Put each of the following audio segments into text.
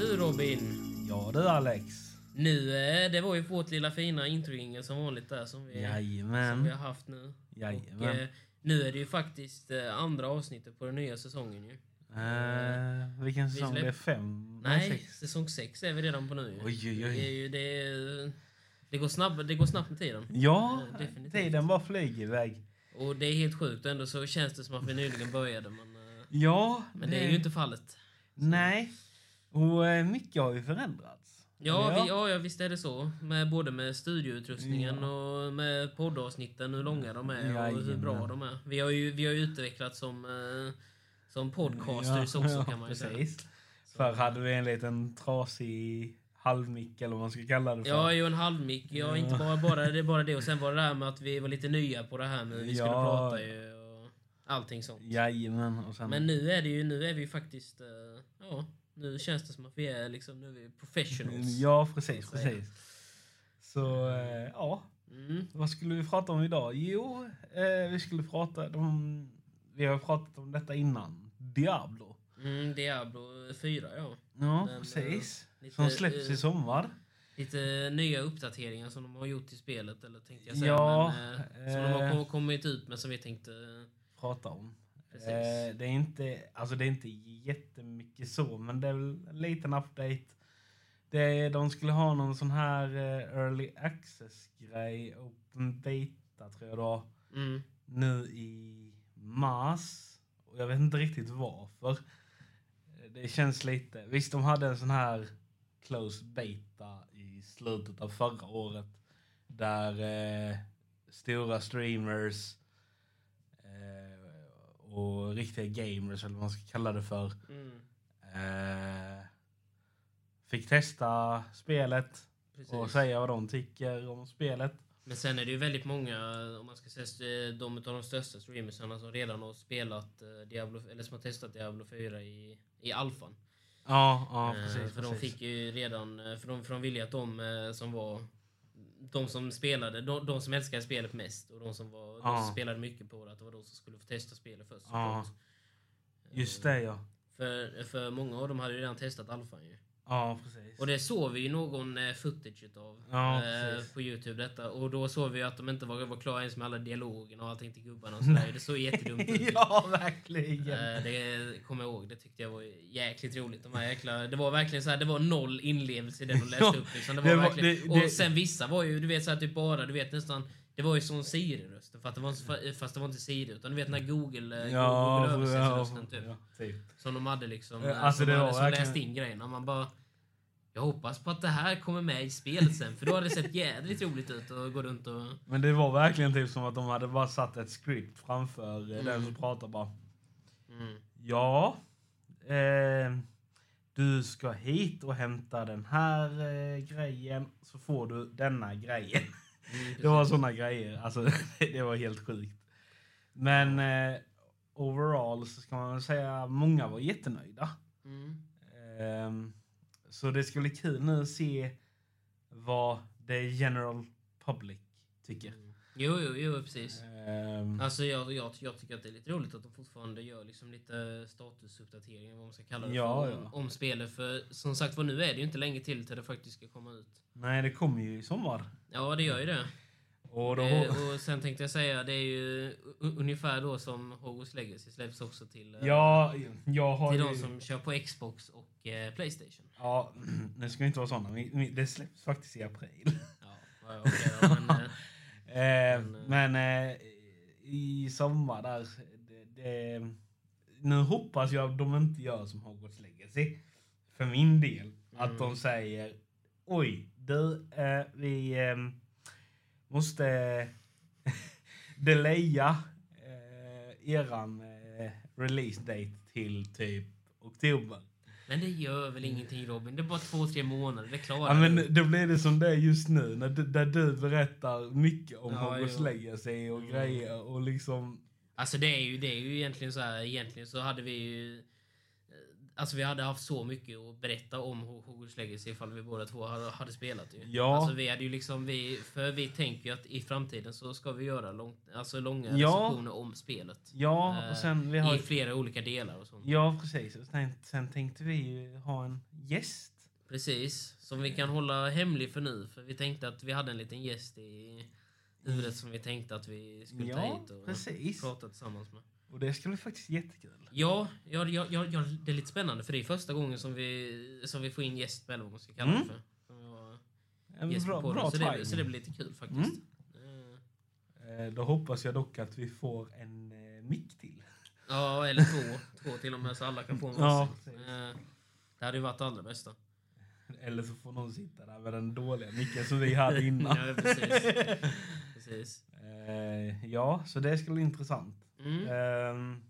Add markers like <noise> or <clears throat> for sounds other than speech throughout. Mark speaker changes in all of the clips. Speaker 1: Robin.
Speaker 2: Ja du Alex.
Speaker 1: Nu, eh, det var ju vårt lilla fina introingen som vanligt där som vi, som vi
Speaker 2: Jajamän.
Speaker 1: har haft nu. Och,
Speaker 2: Jajamän.
Speaker 1: eh, nu är det ju faktiskt eh, andra avsnittet på den nya säsongen ju.
Speaker 2: Eh, vilken
Speaker 1: vi
Speaker 2: säsong?
Speaker 1: släpp-
Speaker 2: Det är fem?
Speaker 1: Nej,
Speaker 2: sex.
Speaker 1: säsong sex är vi redan på nu ju.
Speaker 2: Oj, oj,
Speaker 1: Det, är
Speaker 2: oj.
Speaker 1: ju, det, är- eh, det, går snabb, det går snabbt med tiden.
Speaker 2: Ja,
Speaker 1: Eh, definitivt.
Speaker 2: tiden bara flyger iväg.
Speaker 1: Och det är helt sjukt ändå så känns det som att vi nyligen började men, eh,
Speaker 2: Ja.
Speaker 1: men det är ju inte fallet.
Speaker 2: Nej. Och eh, mycket har ju förändrats.
Speaker 1: Ja,
Speaker 2: Ja.
Speaker 1: vi, ja, ja, visst är det så. Med, både med studioutrustningen och med poddavsnitten, hur långa de är och hur
Speaker 2: Jajamän.
Speaker 1: bra de är. Vi har ju, vi har ju utvecklats som, eh, som podcasters också kan man ju säga.
Speaker 2: precis. Förr hade vi en liten trasig halvmick eller vad man ska kalla det för.
Speaker 1: Ja, ju en halvmick. Ja, inte bara, bara, det är bara det. Och sen var det där med att vi var lite nya på det här med hur vi skulle
Speaker 2: Ja.
Speaker 1: prata ju och allting sånt.
Speaker 2: Jajamän. Och sen,
Speaker 1: Men nu är det ju, nu är vi ju faktiskt, eh, ja, nu känns det som att vi är liksom, nu är vi professionals.
Speaker 2: Ja, precis.
Speaker 1: så att säga.
Speaker 2: precis. Så eh, ja,
Speaker 1: Mm.
Speaker 2: Vad skulle vi prata om idag? Jo, eh, vi skulle prata om... Vi har pratat om detta innan. Diablo.
Speaker 1: Mm, Diablo 4, ja.
Speaker 2: Ja,
Speaker 1: Den, eh,
Speaker 2: precis.
Speaker 1: lite,
Speaker 2: Som släpps
Speaker 1: eh,
Speaker 2: i sommar.
Speaker 1: Lite nya uppdateringar som de har gjort till spelet, eller tänkte jag säga.
Speaker 2: Ja,
Speaker 1: men, eh, som de har
Speaker 2: eh.
Speaker 1: kom- kommit ut med som vi tänkte... eh,
Speaker 2: Prata om.
Speaker 1: Precis.
Speaker 2: Eh, det, är inte, alltså det är inte jättemycket så, men det är väl en liten update. Det är, de skulle ha någon sån här eh, early access-grej, open beta tror jag då,
Speaker 1: Mm.
Speaker 2: nu i mars. Och jag vet inte riktigt varför. Det känns lite... Visst, de hade en sån här closed beta i slutet av förra året där eh, stora streamers eh, och riktiga gamers, eller vad man ska kalla det för,
Speaker 1: Mm.
Speaker 2: eh, fick testa spelet
Speaker 1: Precis. Eh,
Speaker 2: och säga vad de tycker om spelet.
Speaker 1: Men sen är det ju väldigt många, om man ska säga eh, de av de största streamersarna som redan har spelat eh, Diablo, eller som har testat Diablo 4 i, i alfan.
Speaker 2: Ja, ja
Speaker 1: Eh,
Speaker 2: precis.
Speaker 1: för de
Speaker 2: precis.
Speaker 1: fick ju redan, eh, för de, för de ville ju att de eh, som var de som spelade, de, de som älskade spelet mest och de som, var, de
Speaker 2: Ja.
Speaker 1: som spelade mycket på det, att det var de som skulle få testa spelet först.
Speaker 2: Ja.
Speaker 1: såklart.
Speaker 2: Just det, ja.
Speaker 1: För, för många av dem hade ju redan testat alfan ju.
Speaker 2: Ja, precis.
Speaker 1: Och det såg vi ju någon eh, footage utav
Speaker 2: Ja,
Speaker 1: eh,
Speaker 2: precis.
Speaker 1: på Youtube detta. Och då såg vi ju att de inte var, var klara ens med alla dialogerna och allting till gubbarna och sådär. Det såg
Speaker 2: <laughs>
Speaker 1: jättedumt ut.
Speaker 2: ja, verkligen.
Speaker 1: Eh, Det kommer jag ihåg, det tyckte jag var jäkligt roligt. De här jäkla, det var verkligen så här, det var noll inlevelse i det de
Speaker 2: <laughs>
Speaker 1: läste upp. Liksom. Det var
Speaker 2: Det var-
Speaker 1: verkligen,
Speaker 2: det- det-
Speaker 1: och sen vissa var ju, du vet så här, typ bara, du vet nästan, det var ju som Siri-rösten fast det, var,
Speaker 2: Mm.
Speaker 1: inte- fast det var inte Siri utan du vet när Google, eh, Google översätter typ.
Speaker 2: ja, typ.
Speaker 1: Som de hade liksom,
Speaker 2: Eh,
Speaker 1: eh,
Speaker 2: alltså
Speaker 1: som,
Speaker 2: det
Speaker 1: hade,
Speaker 2: var
Speaker 1: som
Speaker 2: verkligen-
Speaker 1: läste in grejerna. Man bara, jag hoppas på att det här kommer med i spelet sen för då hade det sett jädrigt roligt ut att gå runt och...
Speaker 2: Men det var verkligen typ som att de hade bara satt ett script framför eh, den som pratar bara.
Speaker 1: Mm.
Speaker 2: Ja, eh, du ska hit och hämta den här eh, grejen så får du denna grejen. <laughs>
Speaker 1: Mm,
Speaker 2: Det var såna grejer. Alltså, <laughs> det var helt sjukt. Men eh, overall så ska man väl säga många var jättenöjda.
Speaker 1: Mm.
Speaker 2: Ehm, så det ska bli kul nu att se vad the general public tycker.
Speaker 1: Jo, jo, jo, precis.
Speaker 2: Ehm,
Speaker 1: Alltså jag, jag, jag tycker att det är lite roligt att de fortfarande gör liksom lite statusuppdateringar, vad man ska kalla det
Speaker 2: Ja,
Speaker 1: för,
Speaker 2: ja.
Speaker 1: Om, om spelet. För som sagt var, nu är det ju inte länge till till det faktiskt ska komma ut.
Speaker 2: nej, det kommer ju i sommar.
Speaker 1: Ja, det gör ju det.
Speaker 2: Och då,
Speaker 1: Eh, och sen tänkte jag säga, det är ju u- ungefär då som Hogwarts Legacy släpps också till, eh,
Speaker 2: ja, jag har
Speaker 1: till
Speaker 2: ju...
Speaker 1: de som kör på Xbox och eh, Playstation.
Speaker 2: Ja, <clears throat> det ska inte vara såna. Vi- vi- Det släpps faktiskt i april.
Speaker 1: Ja, <laughs> ja, okej då, men, eh,
Speaker 2: Ehm,
Speaker 1: eh,
Speaker 2: men eh, i sommar där... Det, det, nu hoppas jag att de inte gör som Hogwarts Legacy. För min del. Att
Speaker 1: Mm.
Speaker 2: de säger Oj, du, eh, vi eh, måste <laughs> delaya eh, eran eh, release date till typ oktober.
Speaker 1: men det gör väl ingenting Robin, det är bara två, tre månader, det klarar
Speaker 2: Ja,
Speaker 1: du.
Speaker 2: men då blir det som det är just nu, när du, där du berättar mycket om
Speaker 1: Ja,
Speaker 2: Hogwarts
Speaker 1: jo.
Speaker 2: Legacy och
Speaker 1: Mm.
Speaker 2: grejer och liksom...
Speaker 1: Alltså det är ju, det är ju egentligen så här, egentligen så hade vi ju... eh, Alltså vi hade haft så mycket att berätta om Ho- Hogwarts Legacy ifall vi båda två hade, hade spelat ju.
Speaker 2: Ja.
Speaker 1: Alltså vi hade ju liksom, vi, för vi tänker ju att i framtiden så ska vi göra lång, alltså långa
Speaker 2: Ja.
Speaker 1: recensioner om spelet.
Speaker 2: Ja, och
Speaker 1: Eh,
Speaker 2: sen vi har...
Speaker 1: I flera olika delar och sånt.
Speaker 2: Ja, precis. Och sen, sen tänkte vi ju ha en gäst.
Speaker 1: Precis. Som vi kan hålla hemlig för nu. För vi tänkte att vi hade en liten gäst i huvudet som vi tänkte att vi skulle ta
Speaker 2: Ja,
Speaker 1: hit och
Speaker 2: precis.
Speaker 1: prata tillsammans med.
Speaker 2: Och det ska bli faktiskt jättekul.
Speaker 1: Ja, ja, ja, ja, ja, det är lite spännande för det är första gången som vi, som vi får in gäst med eller vad man ska kalla det
Speaker 2: Mm.
Speaker 1: för. Som jag-
Speaker 2: En
Speaker 1: gäst
Speaker 2: bra
Speaker 1: på
Speaker 2: bra
Speaker 1: podden. så, det,
Speaker 2: timing. Mm.
Speaker 1: så det blir lite kul faktiskt. Eh,
Speaker 2: Eh, Då hoppas jag dock att vi får en eh, mick till. <laughs>
Speaker 1: Ja, eller två. två till och med så alla kan få en varsin.
Speaker 2: Ja, precis.
Speaker 1: Eh, Det hade ju varit det allra bästa.
Speaker 2: Eller så får någon sitta där med den dåliga micken som vi hade <laughs> innan.
Speaker 1: Ja, precis. precis.
Speaker 2: Eh, ja, så det ska bli intressant.
Speaker 1: Mm.
Speaker 2: Ehm,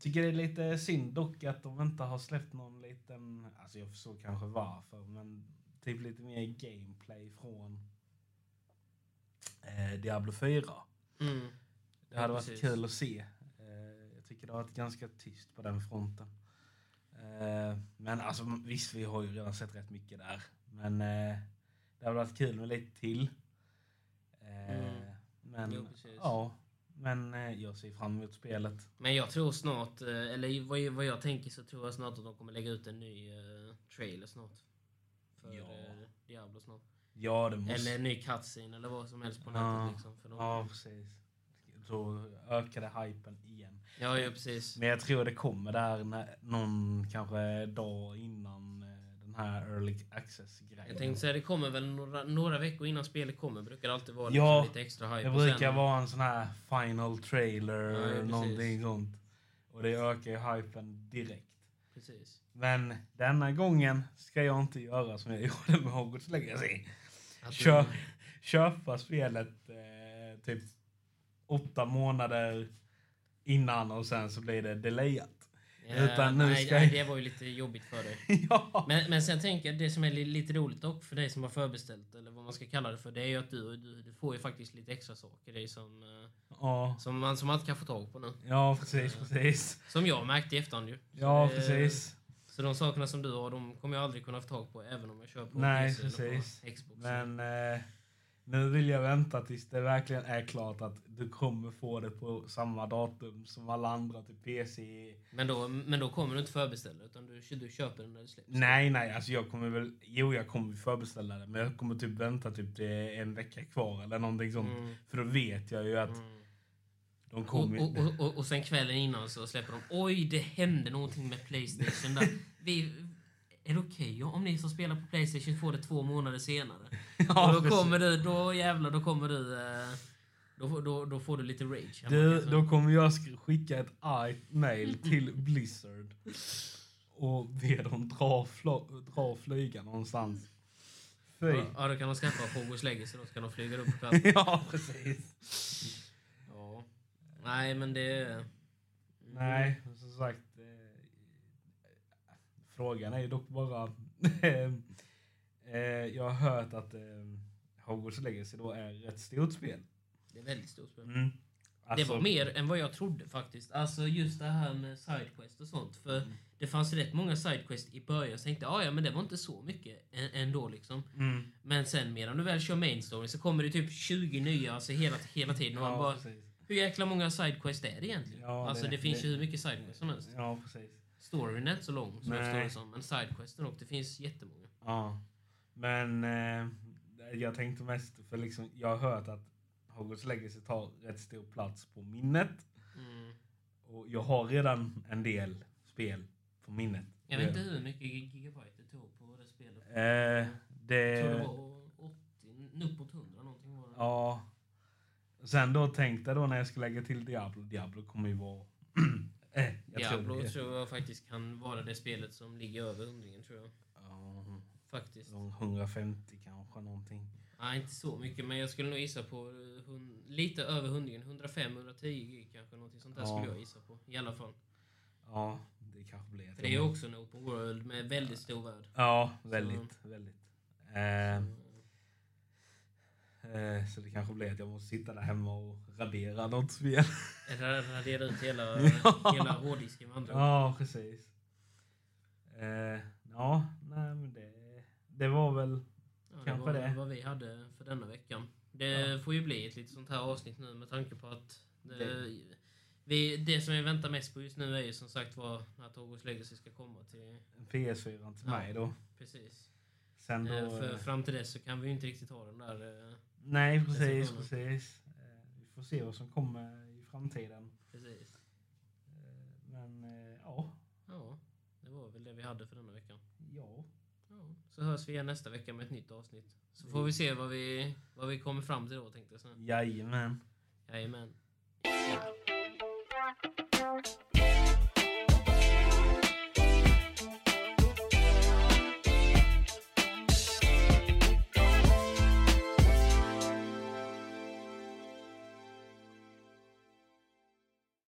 Speaker 2: tycker det är lite synd dock att de inte har släppt någon liten, alltså jag förstår kanske varför, men typ lite mer gameplay från eh, Diablo 4.
Speaker 1: Mm.
Speaker 2: Det hade
Speaker 1: Ja,
Speaker 2: varit
Speaker 1: precis.
Speaker 2: kul att se. Eh, jag tycker det har varit ganska tyst på den fronten. Eh, men alltså visst, vi har ju redan sett rätt mycket där. Men eh, det hade varit kul med lite till. Eh,
Speaker 1: Mm.
Speaker 2: Men,
Speaker 1: Jo, precis.
Speaker 2: ja, men eh, jag ser fram emot spelet.
Speaker 1: Men jag tror snart, eh, eller vad jag, vad jag tänker så tror jag snart att de kommer lägga ut en ny eh, trailer snart. För
Speaker 2: Ja.
Speaker 1: eh, Diablo snart.
Speaker 2: Ja, det måste...
Speaker 1: Eller en ny cutscene eller vad som helst på
Speaker 2: Ja.
Speaker 1: nätet. Liksom, för de, ja.
Speaker 2: Ja, precis. Då ökade hypen igen.
Speaker 1: Ja, precis.
Speaker 2: Men jag tror det kommer där när, någon kanske dag innan eh, den här early access-grejen.
Speaker 1: Jag tänkte säga, det kommer väl några, några veckor innan spelet kommer. Brukar det alltid vara
Speaker 2: Ja,
Speaker 1: liksom lite extra hype.
Speaker 2: Det
Speaker 1: Och sen-
Speaker 2: brukar vara en sån här final trailer,
Speaker 1: Ja, ja,
Speaker 2: eller
Speaker 1: precis.
Speaker 2: någonting sånt. Och det ökar ju hypen direkt.
Speaker 1: Precis.
Speaker 2: Men denna gången ska jag inte göra som jag <laughs> gjorde med Hogwarts Legacy.
Speaker 1: Att du-
Speaker 2: Kö köpa spelet eh, typ åtta månader innan och sen så blir det delayat. <laughs>
Speaker 1: Ja,
Speaker 2: utan nu
Speaker 1: nej,
Speaker 2: ska
Speaker 1: nej,
Speaker 2: jag-
Speaker 1: det var ju lite jobbigt för dig.
Speaker 2: ja.
Speaker 1: Men, men sen tänker jag, det som är li- lite roligt dock för dig som har förbeställt, eller vad man ska kalla det för, det är ju att du, du, du får ju faktiskt lite extra saker i som, eh,
Speaker 2: ja.
Speaker 1: som, man, som man inte kan få tag på nu.
Speaker 2: Ja, precis, precis.
Speaker 1: Som jag märkte i efterhand ju. Så
Speaker 2: Ja,
Speaker 1: det-
Speaker 2: precis.
Speaker 1: Så de sakerna som du har, de kommer jag aldrig kunna få tag på även om jag kör på
Speaker 2: Nej,
Speaker 1: PC eller
Speaker 2: precis.
Speaker 1: på Xbox.
Speaker 2: Men eh, nu vill jag vänta tills det verkligen är klart att du kommer få det på samma datum som alla andra till PC.
Speaker 1: Men, då, men då kommer du inte förbeställa utan du, du köper den när det släpps.
Speaker 2: Nej, nej, alltså jag kommer väl... Jo, jag kommer förbeställa det, men jag kommer typ vänta typ det är en vecka kvar eller någonting sånt.
Speaker 1: Mm.
Speaker 2: För då vet jag ju att de
Speaker 1: Och,
Speaker 2: kommer...
Speaker 1: och, och, och, och sen kvällen innan så släpper de Oj, det hände någonting med Playstation
Speaker 2: <laughs>
Speaker 1: där. Vi, är det okej om ni som spelar på Playstation får det två månader senare?
Speaker 2: <laughs> Ja,
Speaker 1: och då
Speaker 2: precis.
Speaker 1: kommer du, då jävlar, då kommer du... eh, Då, får- då, då får du lite rage. kan man
Speaker 2: Du,
Speaker 1: säga.
Speaker 2: då kommer jag sk- skicka ett argt <laughs> mail till Blizzard och be dem dra, flo- dra och flyga någonstans. Fy.
Speaker 1: Ja, då kan de skaffa Hogwarts Legacy, då ska de flyga upp på
Speaker 2: <laughs>
Speaker 1: platsen.
Speaker 2: ja, precis.
Speaker 1: Ja. Nej, men det...
Speaker 2: Nej, <laughs> som sagt. Eh, frågan är ju dock bara... <laughs> eh, jag har hört att eh, Hogwarts Legacy då är ett stort spel.
Speaker 1: Det är väldigt stort spel.
Speaker 2: Mm.
Speaker 1: det var mer än vad jag trodde faktiskt. Alltså just det här med sidequest och sånt. För
Speaker 2: Mm.
Speaker 1: det fanns rätt många sidequest i början. Så tänkte jag, "Ah, ja men det var inte så mycket ä- ändå liksom.
Speaker 2: Mm.
Speaker 1: Men sen medan du väl kör main story så kommer det typ 20 nya alltså hela, hela tiden. Och man
Speaker 2: Ja,
Speaker 1: bara,
Speaker 2: precis.
Speaker 1: hur jäkla många sidequest är det egentligen?
Speaker 2: Ja,
Speaker 1: alltså det,
Speaker 2: det-
Speaker 1: finns ju
Speaker 2: det-
Speaker 1: hur mycket sidequest som helst.
Speaker 2: Ja, precis.
Speaker 1: Storyn är inte så lång som jag
Speaker 2: Nej.
Speaker 1: förstår det som. Men sidequesten och det finns jättemånga.
Speaker 2: Ja, men eh, jag tänkte mest för liksom, jag har hört att Hogwarts Legacy tar rätt stor plats på minnet
Speaker 1: Mm.
Speaker 2: och jag har redan en del spel på minnet.
Speaker 1: Jag vet inte hur mycket gig- gigabyte det tog på det spelet.
Speaker 2: Eh,
Speaker 1: Jag tror det
Speaker 2: det,
Speaker 1: var 80, uppåt 100 någonting var det.
Speaker 2: ja. Sen då tänkte jag då när jag ska lägga till Diablo, Diablo kommer ju vara... <clears throat> eh, jag
Speaker 1: Diablo
Speaker 2: tror
Speaker 1: tror,
Speaker 2: det.
Speaker 1: jag faktiskt kan vara det spelet som ligger över hundringen tror jag.
Speaker 2: Ja,
Speaker 1: Faktiskt.
Speaker 2: de 150 kanske någonting.
Speaker 1: Nej, inte så mycket, men jag skulle nog gissa på eh, hun- lite över hundringen. 105-110 gig kanske, någonting sånt där
Speaker 2: Ja.
Speaker 1: skulle jag gissa på. I alla fall.
Speaker 2: Ja, det kanske blir...
Speaker 1: För det är ju också en open world med väldigt stor värld.
Speaker 2: Ja, väldigt, väldigt. Eh, Eh, Så det kanske blir att jag måste sitta där hemma och radera något spel.
Speaker 1: Eller radera ut hela,
Speaker 2: <laughs> Ja.
Speaker 1: hela hårddisken med andra ord.
Speaker 2: Ja, precis. Eh, Ja, nej men det, det var väl...
Speaker 1: Ja, det
Speaker 2: kanske
Speaker 1: var
Speaker 2: det.
Speaker 1: vad vi hade för denna veckan. Det får ju bli ett lite sånt här avsnitt nu med tanke på att eh,
Speaker 2: Det-
Speaker 1: Vi, det som vi väntar mest på just nu är ju som sagt var när Togos Legacy ska komma till...
Speaker 2: PS4 till
Speaker 1: Ja.
Speaker 2: mig då.
Speaker 1: Precis.
Speaker 2: Sen då
Speaker 1: Eh, För
Speaker 2: eh,
Speaker 1: fram till dess så kan vi ju inte riktigt ha den där... eh,
Speaker 2: nej, precis,
Speaker 1: presentation.
Speaker 2: precis. Eh, vi får se vad som kommer i framtiden.
Speaker 1: Precis.
Speaker 2: Eh, men eh, ja,
Speaker 1: Ja, det var väl det vi hade för denna veckan.
Speaker 2: ja.
Speaker 1: Ja. Så hörs vi igen nästa vecka med ett nytt avsnitt. Så får vi se vad vi, vad vi kommer fram till då tänkte jag säga.
Speaker 2: Jajamän.
Speaker 1: Jajamän.